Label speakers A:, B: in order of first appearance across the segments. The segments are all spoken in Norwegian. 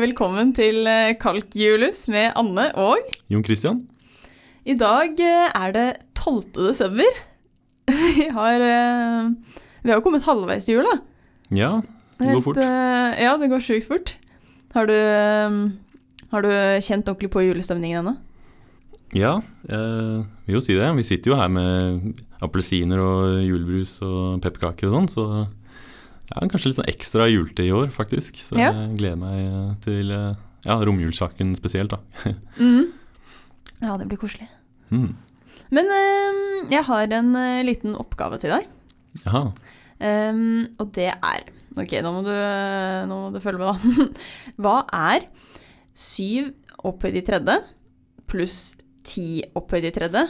A: velkommen til eh, Kalkjulus med Anne og
B: Jon Christian?
A: I dag eh, er det 12. desember. Vi har, eh, vi har jo kommet halvveis til jula.
B: Ja, det går fort.
A: eh, ja, det går sjukt fort. Har du, eh, har du kjent ordentlig på julestemningen ennå?
B: Ja, eh, vil jo si det. Vi sitter jo her med appelsiner og julebrus og pepperkaker og sånn, så ja, kanskje litt sånn ekstra julete i år, faktisk. Så
A: Ja.
B: jeg gleder meg eh, til eh, ja, romjulssaken spesielt, da.
A: Mm. Ja, det blir koselig.
B: Mm.
A: Men eh, jeg har en eh, liten oppgave til deg.
B: Jaha.
A: Ehm, og det er Ok, nå må du, nå må du følge med, da. Hva er 7 opphøyd i tredje pluss 10 opphøyd i tredje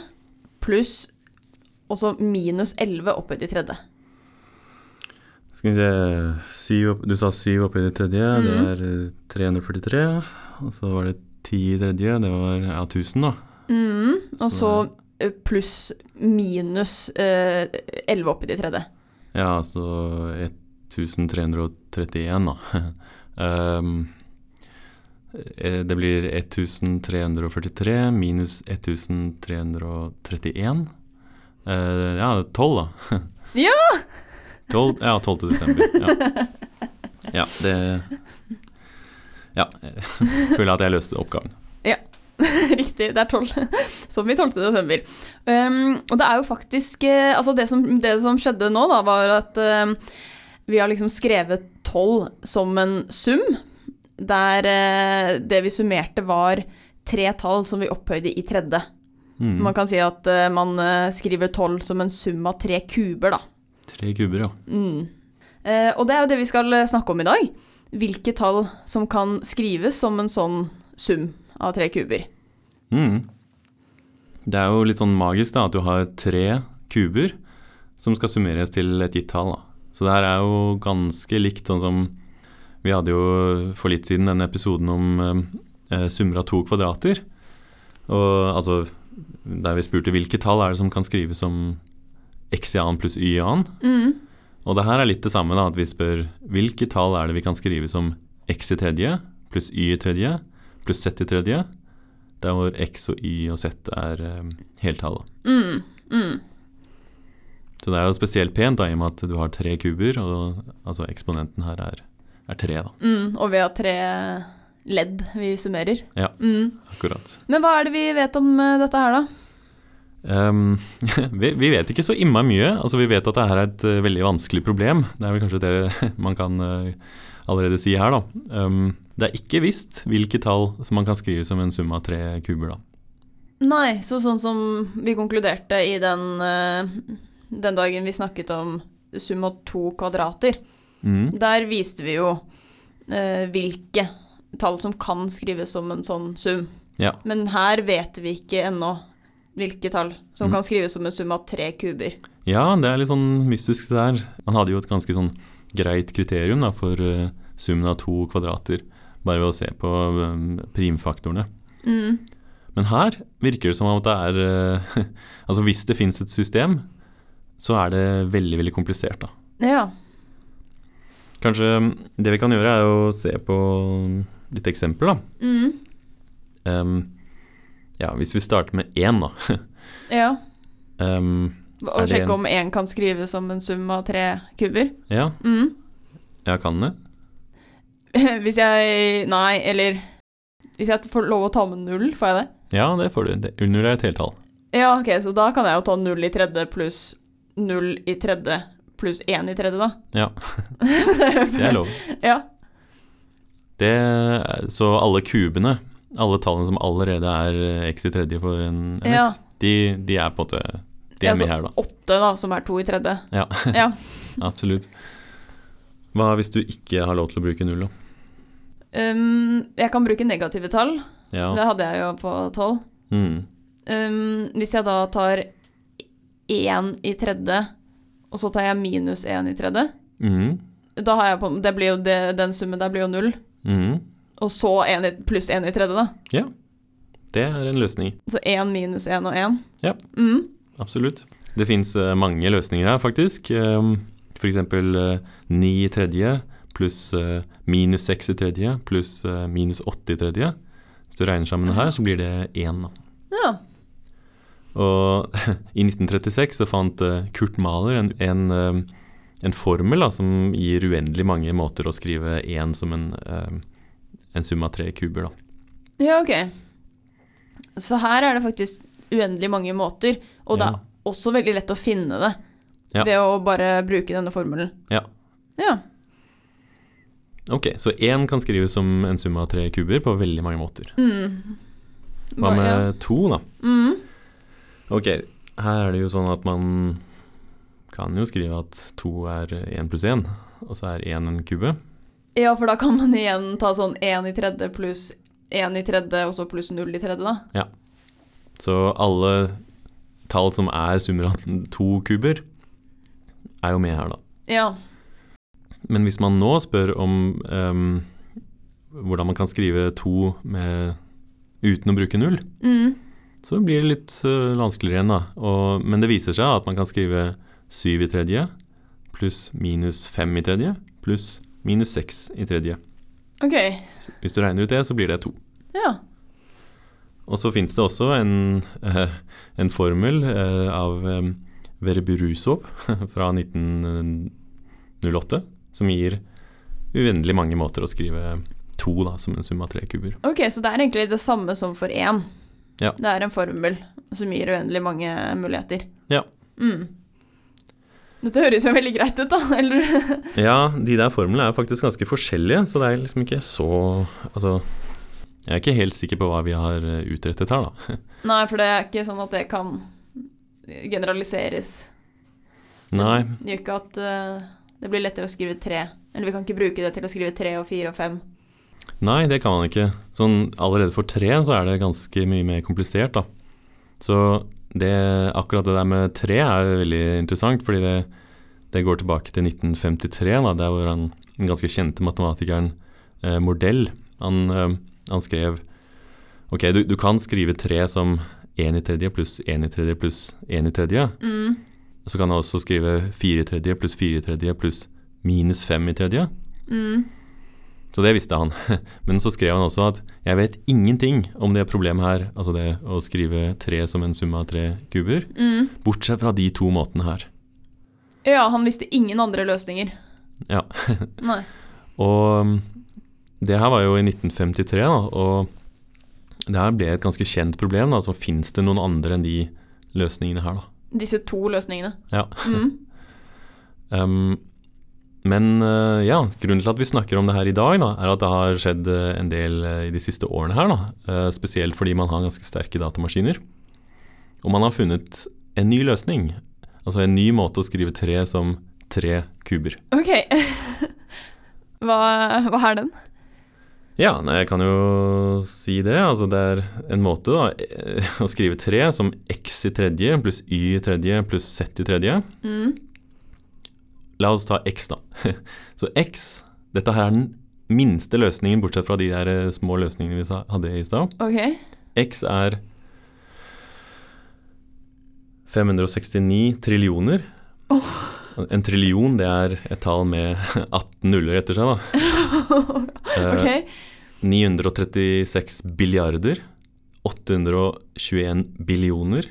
A: pluss og så minus 11 opphøyd i tredje?
B: Skal vi se syv opp, Du sa syv oppi det tredje, det
A: Mhm.
B: er eh, 343. Og så var det ti i tredje, det var ja, 1000, da.
A: Mm, og så
B: Så-
A: eh, pluss minus eh, 11 opphøyd i tredje.
B: Ja, altså 1331, da. Ehm, eh, det blir 1343 minus 1331. Eh, ja, 12, da.
A: Ja!
B: 12, ja, 12. desember. Ja, ja det Ja. Jeg føler at jeg løste oppgaven.
A: Riktig, det er 12. Som i 12. desember. Ehm, og det er jo faktisk eh, Altså, det som, det som skjedde nå, da, var at eh, vi har liksom skrevet 12 som en sum, der eh, det vi summerte, var tre tall som vi opphøyde i tredje.
B: Mm.
A: Man kan si at eh, man eh, skriver 12 som en sum av tre kuber, da.
B: Tre kuber, ja.
A: Mm. Eh, og det er jo det vi skal eh, snakke om i dag. Hvilke tall som kan skrives som en sånn sum av tre kuber.
B: Mm. Det er jo litt sånn magisk da, at du har tre kuber som skal summeres til et gitt tall. Da. Så det her er jo ganske likt sånn som Vi hadde jo for litt siden denne episoden om eh, summer av to kvadrater. Og altså Der vi spurte hvilke tall er det som kan skrives som x i annen pluss y i annen.
A: Mm.
B: Og det her er litt det samme, da, at vi spør hvilke tall er det vi kan skrive som x i tredje pluss y i tredje pluss z i tredje, der hvor x og y og z er eh, heltall. da.
A: Mm, mm.
B: Så det er jo spesielt pent da, i og med at du har tre kuber, og altså eksponenten her er, er tre, da.
A: Mm, og vi har tre ledd vi summerer.
B: Ja.
A: Mm.
B: Akkurat.
A: Men hva er det vi vet om eh, dette her, da?
B: Ehm, vi, vi vet ikke så innmari mye. Altså, vi vet at det her er et eh, veldig vanskelig problem. Det er vel kanskje det man kan eh, allerede si her, da. Ehm, det er ikke visst hvilke tall som man kan skrive som en sum av tre kuber, da.
A: Nei, så sånn som vi konkluderte i den, eh, den dagen vi snakket om sum av to kvadrater,
B: Mm.
A: der viste vi jo eh, hvilke tall som kan skrives som en sånn sum.
B: Ja.
A: Men her vet vi ikke ennå hvilke tall som
B: Mm.
A: kan skrives som en sum av tre kuber.
B: Ja, det er litt sånn mystisk det der. Man hadde jo et ganske sånn greit kriterium da, for eh, summen av to kvadrater, bare ved å se på eh, primfaktorene.
A: Mm.
B: Men her virker det som om at det er eh, Altså hvis det fins et system, så er det veldig, veldig komplisert, da.
A: Ja.
B: Kanskje mm, det vi kan gjøre, er å se på mm, litt eksempler, da.
A: Mm.
B: Em, ja, hvis vi starter med én, da.
A: Ja.
B: Em,
A: Og
B: Er det
A: sjekke
B: en-
A: om én kan skrives som en sum av tre kuber?
B: ja,
A: Mm.
B: jeg kan det.
A: Hvis jeg Nei, eller Hvis jeg får lov å ta med null, får jeg det?
B: Ja, det får du. Det, under er et heltall.
A: Ja, ok, så da kan jeg jo ta null i tredje pluss null i tredje pluss én i tredje, da.
B: Ja. Det er lov.
A: Ja.
B: Det, er- så alle kubene, alle tallene som allerede er eh, x i tredje for en, en
A: Ja.
B: x, de, de er på en måte De er
A: Ja, så-
B: med her, da.
A: Åtte, da, som er to i tredje.
B: Ja.
A: Ja.
B: Absolutt. Hva hvis du ikke har lov til å bruke null, da?
A: Um, jeg kan bruke negative tall.
B: Ja.
A: Det hadde jeg jo på tolv.
B: Mm.
A: Um, hvis jeg da tar én i tredje, og så tar jeg minus én i tredje,
B: Mm.
A: da har jeg på det blir jo det, Den summen der blir jo null.
B: Mm.
A: Og så en i, pluss én i tredje, da.
B: Det er en løsning.
A: Så én minus én og én.
B: Ja.
A: Mm.
B: Absolutt. Ehm, Det fins mange løsninger her, faktisk. Um, For eksempel eh, ni i tredje pluss eh, minus 6 i tredje pluss eh, minus 8 i tredje. Hvis du regner sammen det her, så blir det 1. Da.
A: Ja.
B: Og i 1936 så fant eh, Kurt Mahler en, en, eh, en formel da, som gir uendelig mange måter å skrive 1 som en, eh, en sum av tre kuber. Da.
A: ja, ok. Så her er det faktisk uendelig mange måter, og det
B: Ja.
A: er også veldig lett å finne det
B: Ja.
A: ved å bare bruke denne formelen.
B: Ja.
A: Ja.
B: Ok, Så 1 kan skrives som en sum av tre kuber på veldig mange måter.
A: Mm.
B: Hva
A: Bare- ja.
B: med 2, da?
A: Mm.
B: Ok, her er det jo sånn at man kan jo skrive at 2 er 1 pluss 1, og så er 1 en kube.
A: Ja, for da kan man igjen ta sånn én i tredje pluss én i tredje, og så pluss null i tredje, da.
B: Så alle tall som er summer av to kuber, er jo med her, da.
A: Ja.
B: Men hvis man nå spør om ehm, hvordan man kan skrive 2 med, uten å bruke null,
A: Mm.
B: så blir det litt eh, vanskeligere igjen, da. Og, men det viser seg at man kan skrive 7 i tredje pluss minus 5 i tredje pluss minus 6 i tredje.
A: Ok.
B: Hvis du regner ut det, så blir det to.
A: Ja.
B: Og så finnes det også en, eh, en formel eh, av eh, Verburusov fra 1908 som gir uendelig mange måter å skrive to da, som en sum av tre kuber.
A: Ok, så det er egentlig det samme som for én.
B: Ja.
A: Det er en formel som gir uendelig mange muligheter.
B: Ja.
A: Mm. Dette høres jo veldig greit ut, da. Eller?
B: Ja, de der formlene er faktisk ganske forskjellige, så det er liksom ikke så Altså, jeg er ikke helt sikker på hva vi har eh, utrettet her, da.
A: Nei, for det er ikke sånn at det kan generaliseres.
B: Nei,
A: Det gjør ikke at eh, det blir lettere å skrive tre. Eller vi kan ikke bruke det til å skrive tre og fire og fem.
B: Nei, det kan man ikke. Sånn, allerede for tre så er det ganske mye mer komplisert, da. Så det, akkurat det der med tre er veldig interessant, fordi det, det går tilbake til 1953, da, der hvor han, den ganske kjente matematikeren eh, Mordell, han, eh, han skrev Ok, du, du kan skrive tre som én i tredje pluss én i tredje pluss én i tredje.
A: Mm.
B: Så kan du også skrive fire i tredje pluss fire i tredje pluss minus fem i tredje.
A: Mm.
B: Så det visste han. Men så skrev han også at jeg vet ingenting om det problemet her, altså det å skrive tre som en sum av tre kuber,
A: Mm.
B: bortsett fra de to måtene her.
A: Ja, han visste ingen andre løsninger.
B: Ja.
A: Nei.
B: Og mm, det her var jo i 1953, da, og det her ble et ganske kjent problem. Da. Så fins det noen andre enn de løsningene her, da.
A: Disse to løsningene.
B: Ja.
A: Mm.
B: Um, men eh, ja, grunnen til at vi snakker om det her i dag, da, er at det har skjedd eh, en del eh, i de siste årene her. Da. Eh, Spesielt fordi man har ganske sterke datamaskiner. Og man har funnet en ny løsning. Altså en ny måte å skrive tre som tre kuber.
A: Ok. hva, hva er den?
B: Ja, nei, jeg kan jo si det. Altså det er en måte da, eh, å skrive tre som x i tredje pluss y i tredje pluss z i tredje.
A: Mm.
B: La oss ta X, da. Så X, dette her er den minste løsningen, bortsett fra de der eh, små løsningene vi sa- hadde i stad.
A: Ok.
B: X er 569 trillioner. En trillion, det er et tall med 18 nuller etter seg, da. Eh,
A: ok.
B: 936 billiarder. 821 billioner.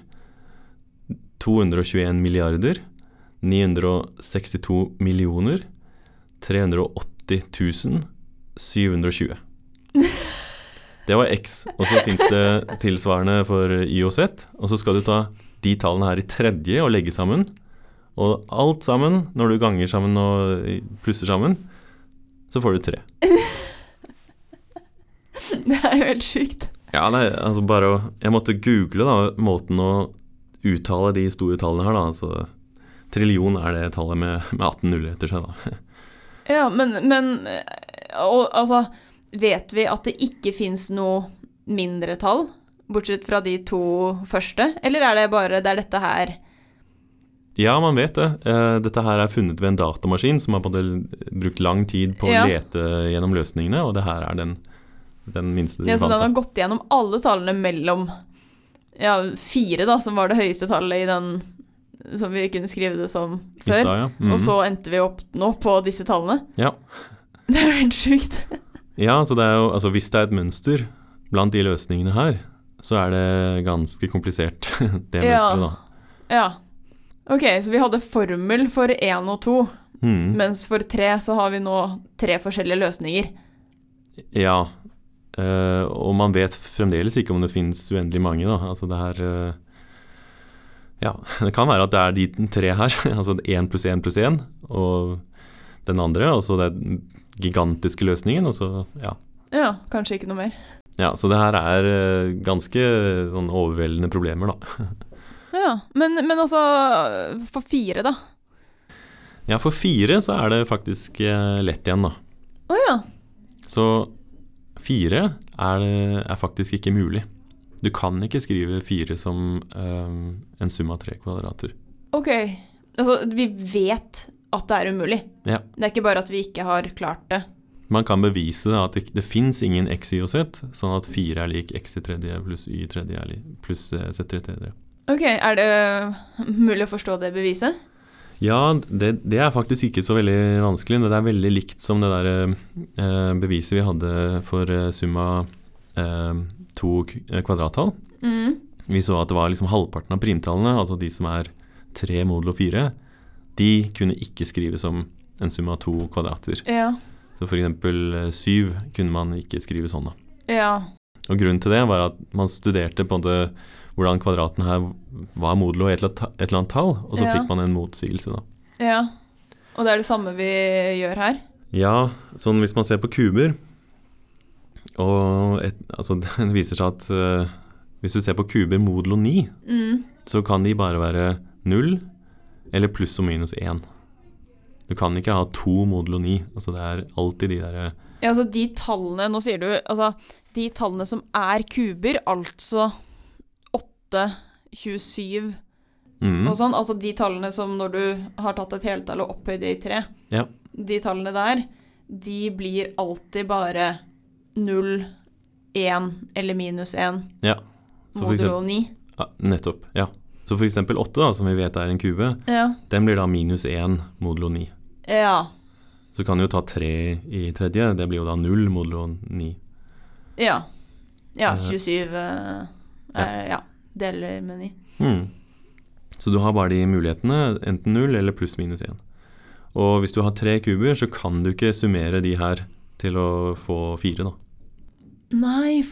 B: 221 milliarder. 962 millioner. 380 000. 720. Det var X, og så fins det tilsvarende for Y og Z. Og så skal du ta de tallene her i tredje og legge sammen. Og alt sammen, når du ganger sammen og plusser sammen, så får du tre.
A: Eh. Det er jo helt sjukt.
B: Ja, nei, altså bare å Jeg måtte google da, måten å uttale de store tallene her, da. Altså, trillion er det tallet med, med 18 nuller etter seg, da.
A: Ja, men, men eh, og, altså, Vet vi at det ikke fins noe mindretall? Bortsett fra de to første? Eller er det bare det er dette her
B: Ja, man vet det. Eh, Dette her er funnet ved en datamaskin som har på en måte brukt lang tid på å
A: Ja.
B: lete gjennom løsningene, og det her er den, den minste
A: ja,
B: de
A: Så den
B: fant.
A: har
B: da.
A: gått gjennom alle tallene mellom ja, fire, da, som var det høyeste tallet i den som vi kunne skrive det som
B: I
A: før.
B: stad, ja. Mhm.
A: Og så endte vi opp nå på disse tallene.
B: Ja.
A: Det er jo helt sjukt.
B: Ja, så det er jo, altså hvis det er et mønster blant de løsningene her, så er det ganske komplisert, det
A: Ja.
B: mønsteret, da.
A: Ja. Ok, så vi hadde formel for én og to,
B: Hmm.
A: mens for tre så har vi nå tre forskjellige løsninger.
B: Ja. eh, og man vet fremdeles ikke om det finnes uendelig mange, da. Altså det her eh, Ja, det kan være at det er de tre her. altså én pluss én pluss én, og den andre, og så den gigantiske løsningen, og så ja.
A: Ja, kanskje ikke noe mer.
B: ja. Så det her er eh, ganske sånn overveldende problemer, da.
A: Ja, Men, men altså, for fire, da?
B: Ja, for fire så er det faktisk eh, lett igjen, da.
A: Å ja.
B: Så fire er, er faktisk ikke mulig. Du kan ikke skrive fire som eh, en sum av tre kvadrater.
A: Ok. Altså, vi vet at det er umulig.
B: Ja.
A: Det er ikke bare at vi ikke har klart det.
B: Man kan bevise da at det, det fins ingen x, y og z, sånn at fire er lik x i tredje pluss y i tredje er lik pluss eh, z i tredje.
A: Ok, Er det mulig å forstå det beviset?
B: Ja, det, det er faktisk ikke så veldig vanskelig. men Det er veldig likt som det der eh, beviset vi hadde for eh, summa eh, to k- eh, kvadrattall.
A: Mm.
B: Vi så at det var liksom halvparten av primtallene, altså de som er tre modulo fire, de kunne ikke skrive som en sum av to kvadrater.
A: Ja.
B: Så for eksempel eh, syv kunne man ikke skrive sånn, da.
A: Ja.
B: Og grunnen til det var at man studerte på en måte hvordan kvadraten her var modulo i et eller annet ta- et eller annet tall, og så
A: Ja.
B: fikk man en motsigelse, da.
A: Ja. Og det er det samme vi gjør her?
B: Ja, sånn hvis man ser på kuber og et, altså, Det viser seg at eh, hvis du ser på kuber modulo 9,
A: Mm.
B: så kan de bare være null eller pluss og minus én. Du kan ikke ha to modulo 9. Altså det er alltid de derre
A: Ja, altså de tallene Nå sier du altså de tallene som er kuber, altså 8, 27
B: mm,
A: og sånn, altså de tallene som når du har tatt et heltall og opphøyd det i tre,
B: Ja.
A: de tallene der, de blir alltid bare 0, 1 eller minus 1,
B: Ja. Så for
A: modulo 9.
B: Ja, nettopp. Ja. Så for eksempel 8, da, som vi vet er en kube,
A: Ja.
B: den blir da minus 1 modulo 9.
A: ja.
B: Så kan du jo ta 3 i tredje, det blir jo da 0 modulo 9.
A: Ja. Ja,
B: Eh,
A: 27 eh, er, ja. Deler med 9.
B: Mm. Så du har bare de mulighetene, enten 0 eller pluss minus 1. Og hvis du har tre kuber, så kan du ikke summere de her til å få fire, da.
A: Nei,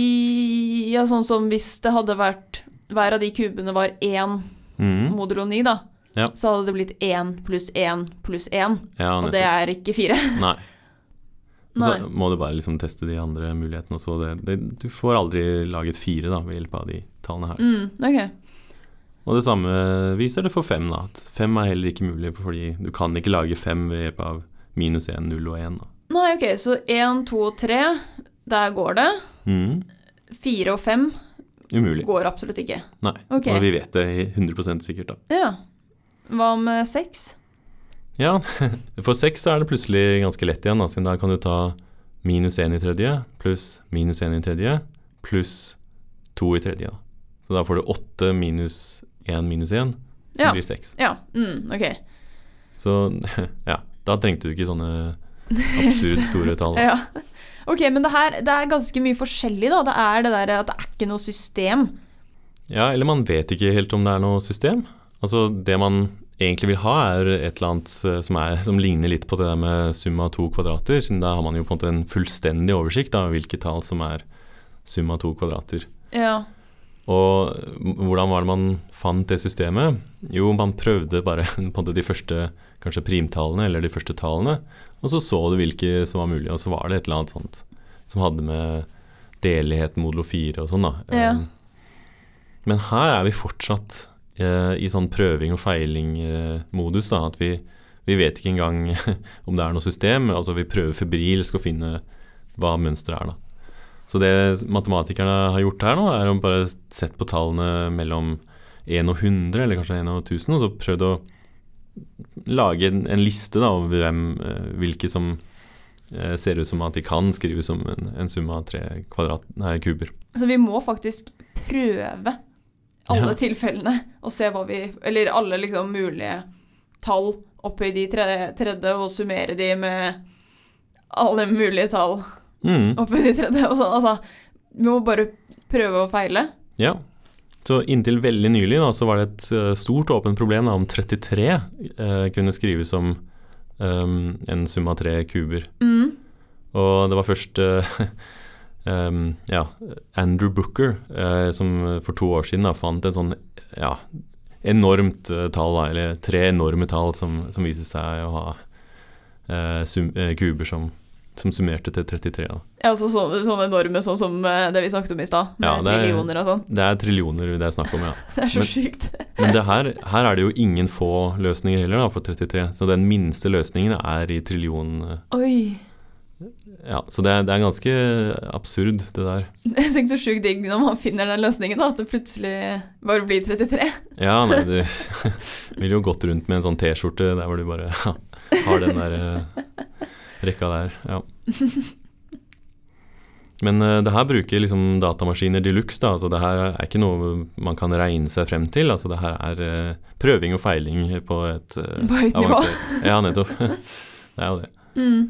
A: fordi Ja, sånn som hvis det hadde vært Hver av de kubene var én
B: Mm.
A: modulo 9, da.
B: Ja.
A: Så hadde det blitt én pluss én pluss én,
B: Ja,
A: og
B: nettopp.
A: det er ikke fire.
B: Nei. Og
A: Nei.
B: Så må du bare liksom teste de andre mulighetene. og så det, det, du får aldri laget fire da, ved hjelp av de tallene her.
A: Mm, ok.
B: Og det samme viser det for fem. da, at Fem er heller ikke mulig, fordi du kan ikke lage fem ved hjelp av minus én, null og én. da.
A: Nei, ok, så én, to og tre, der går det.
B: Mm,
A: Fire og fem
B: umulig.
A: går absolutt ikke.
B: Nei.
A: Ok.
B: Og vi vet det i 100 sikkert, da.
A: Ja. Hva med seks?
B: Ja, for seks så er det plutselig ganske lett igjen, da, siden da kan du ta minus én i tredje pluss minus én i tredje pluss to i tredje. da. Så da får du åtte minus én minus én. Det
A: Ja.
B: blir seks.
A: Ja. Mm, ok.
B: Så ja, da trengte du ikke sånne absurd store tall.
A: Ja. Ok, men det her det er ganske mye forskjellig, da. Det er det der at det er ikke noe system.
B: Ja, eller man vet ikke helt om det er noe system. Altså det man egentlig vil ha er et eller annet eh, som, er, som ligner litt på det der med sum av to kvadrater, siden da har man jo på en måte en fullstendig oversikt av hvilke tall som er sum av to kvadrater.
A: Ja.
B: Og m- hvordan var det man fant det systemet? Jo, man prøvde bare på en måte de første kanskje primtallene, eller de første tallene, og så så du hvilke som var mulige, og så var det et eller annet sånt som hadde med delighet modulo 4 og sånn, da.
A: Ja.
B: Eh, Men her er vi fortsatt eh, i sånn prøving og feiling-modus, da, at vi, vi vet ikke engang om det er noe system, altså vi prøver febrilsk å finne hva mønsteret er, da. Så det matematikerne har gjort her nå, er å bare sett på tallene mellom 1 og 100, eller kanskje 1 og 1000, og så prøvd å lage en, en liste da, over hvem, eh, hvilke som eh, ser ut som at de kan skrive som en, en sum av tre kvadrat, nei, kuber.
A: Så vi må faktisk prøve alle
B: Ja.
A: tilfellene og se hva vi Eller alle liksom mulige tall oppi de tre, tredje og summere de med alle mulige tall
B: Mm.
A: oppi de tredje. Og sånn, altså, vi må bare prøve og feile.
B: Ja. Så inntil veldig nylig da, så var det et eh, stort åpent problem da, om 33 eh, kunne skrives som ehm, en sum av tre kuber.
A: Mm.
B: Og det var først eh, ehm, ja, Andrew Booker eh, som for to år siden da, fant et sånn ja, enormt eh, tall, da, eller tre enorme tall som, som viser seg å ha eh, sum, eh, kuber som, som summerte til 33. Da.
A: Ja, altså sånne, sånne enorme, sånn som eh, det vi snakket om i stad, med
B: Ja, det er-
A: trillioner og sånn.
B: Det er trillioner det er snakk om, ja.
A: Det er så
B: Men-
A: sykt.
B: Men det her, her er det jo ingen få løsninger heller da, for 33, så den minste løsningen er i trillion eh,
A: Oi.
B: Ja, så det er, det er ganske absurd, det der.
A: Jeg tenker så sjukt digg når man finner den løsningen, da, at det plutselig bare blir 33.
B: Ja, nei, du ville jo gått rundt med en sånn T-skjorte der hvor du bare har den der eh, rekka der, ja. Men eh, det her bruker liksom datamaskiner de luxe, da. Altså det her er ikke noe man kan regne seg frem til. Altså det her er eh, prøving og feiling på et eh,
A: På høyt nivå.
B: avansert- Ja, nettopp. Det er jo det.
A: Mm.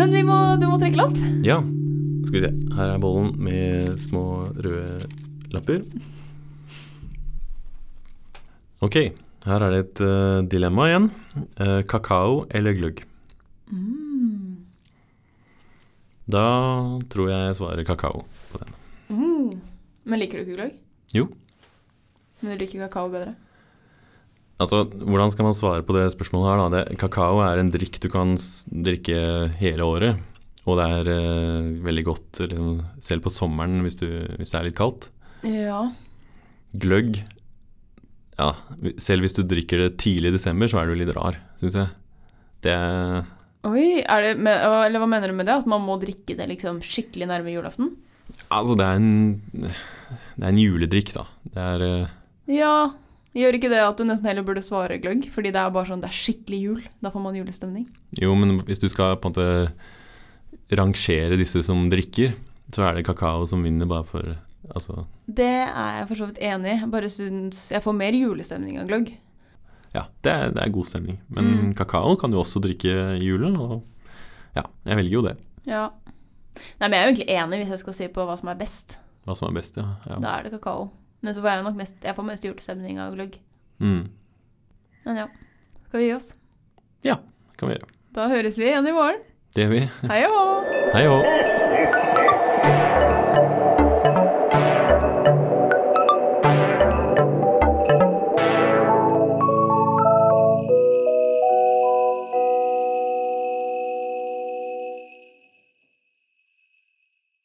A: Men vi må, du må trekke lapp.
B: Ja. Skal vi se. Her er bollen med små røde lapper. Ok, her er det et eh, dilemma igjen. Eh, kakao eller gløgg?
A: Mm.
B: Da tror jeg jeg svarer kakao.
A: Mm. Men liker du ikke gløgg?
B: Jo.
A: Men du liker kakao bedre?
B: Altså, Hvordan skal man svare på det spørsmålet her, da? Det, kakao er en drikk du kan s- drikke hele året. Og det er eh, veldig godt liksom, selv på sommeren hvis, du, hvis det er litt kaldt.
A: Ja.
B: Gløgg Ja, selv hvis du drikker det tidlig i desember, så er du litt rar, syns jeg. Det
A: Oi, er det med, eller hva mener du med det? At man må drikke det liksom skikkelig nærme julaften?
B: Altså, det er en Det er en juledrikk, da. Det er eh,
A: Ja. Gjør ikke det at du nesten heller burde svare gløgg? Fordi det er bare sånn, det er skikkelig jul. Da får man julestemning.
B: Jo, men hvis du skal på en måte rangere disse som drikker, så er det kakao som vinner bare for Altså
A: Det er jeg for så vidt enig i. Bare syns jeg får mer julestemning av gløgg.
B: Ja, det er, det er god stemning. Men
A: Mm.
B: kakao kan du også drikke i julen, og ja, jeg velger jo det.
A: Ja. Nei, men jeg er jo egentlig enig hvis jeg skal si på hva som er best.
B: Hva som er best, ja. ja.
A: Da er det kakao. Men så får jeg nok mest, jeg får mest julestemning av gløgg.
B: Mm,
A: Men ja. Skal vi gi oss?
B: kan vi gjøre.
A: Da høres vi igjen i morgen.
B: Det gjør vi.
A: Hei og hå!
B: Hei og hå.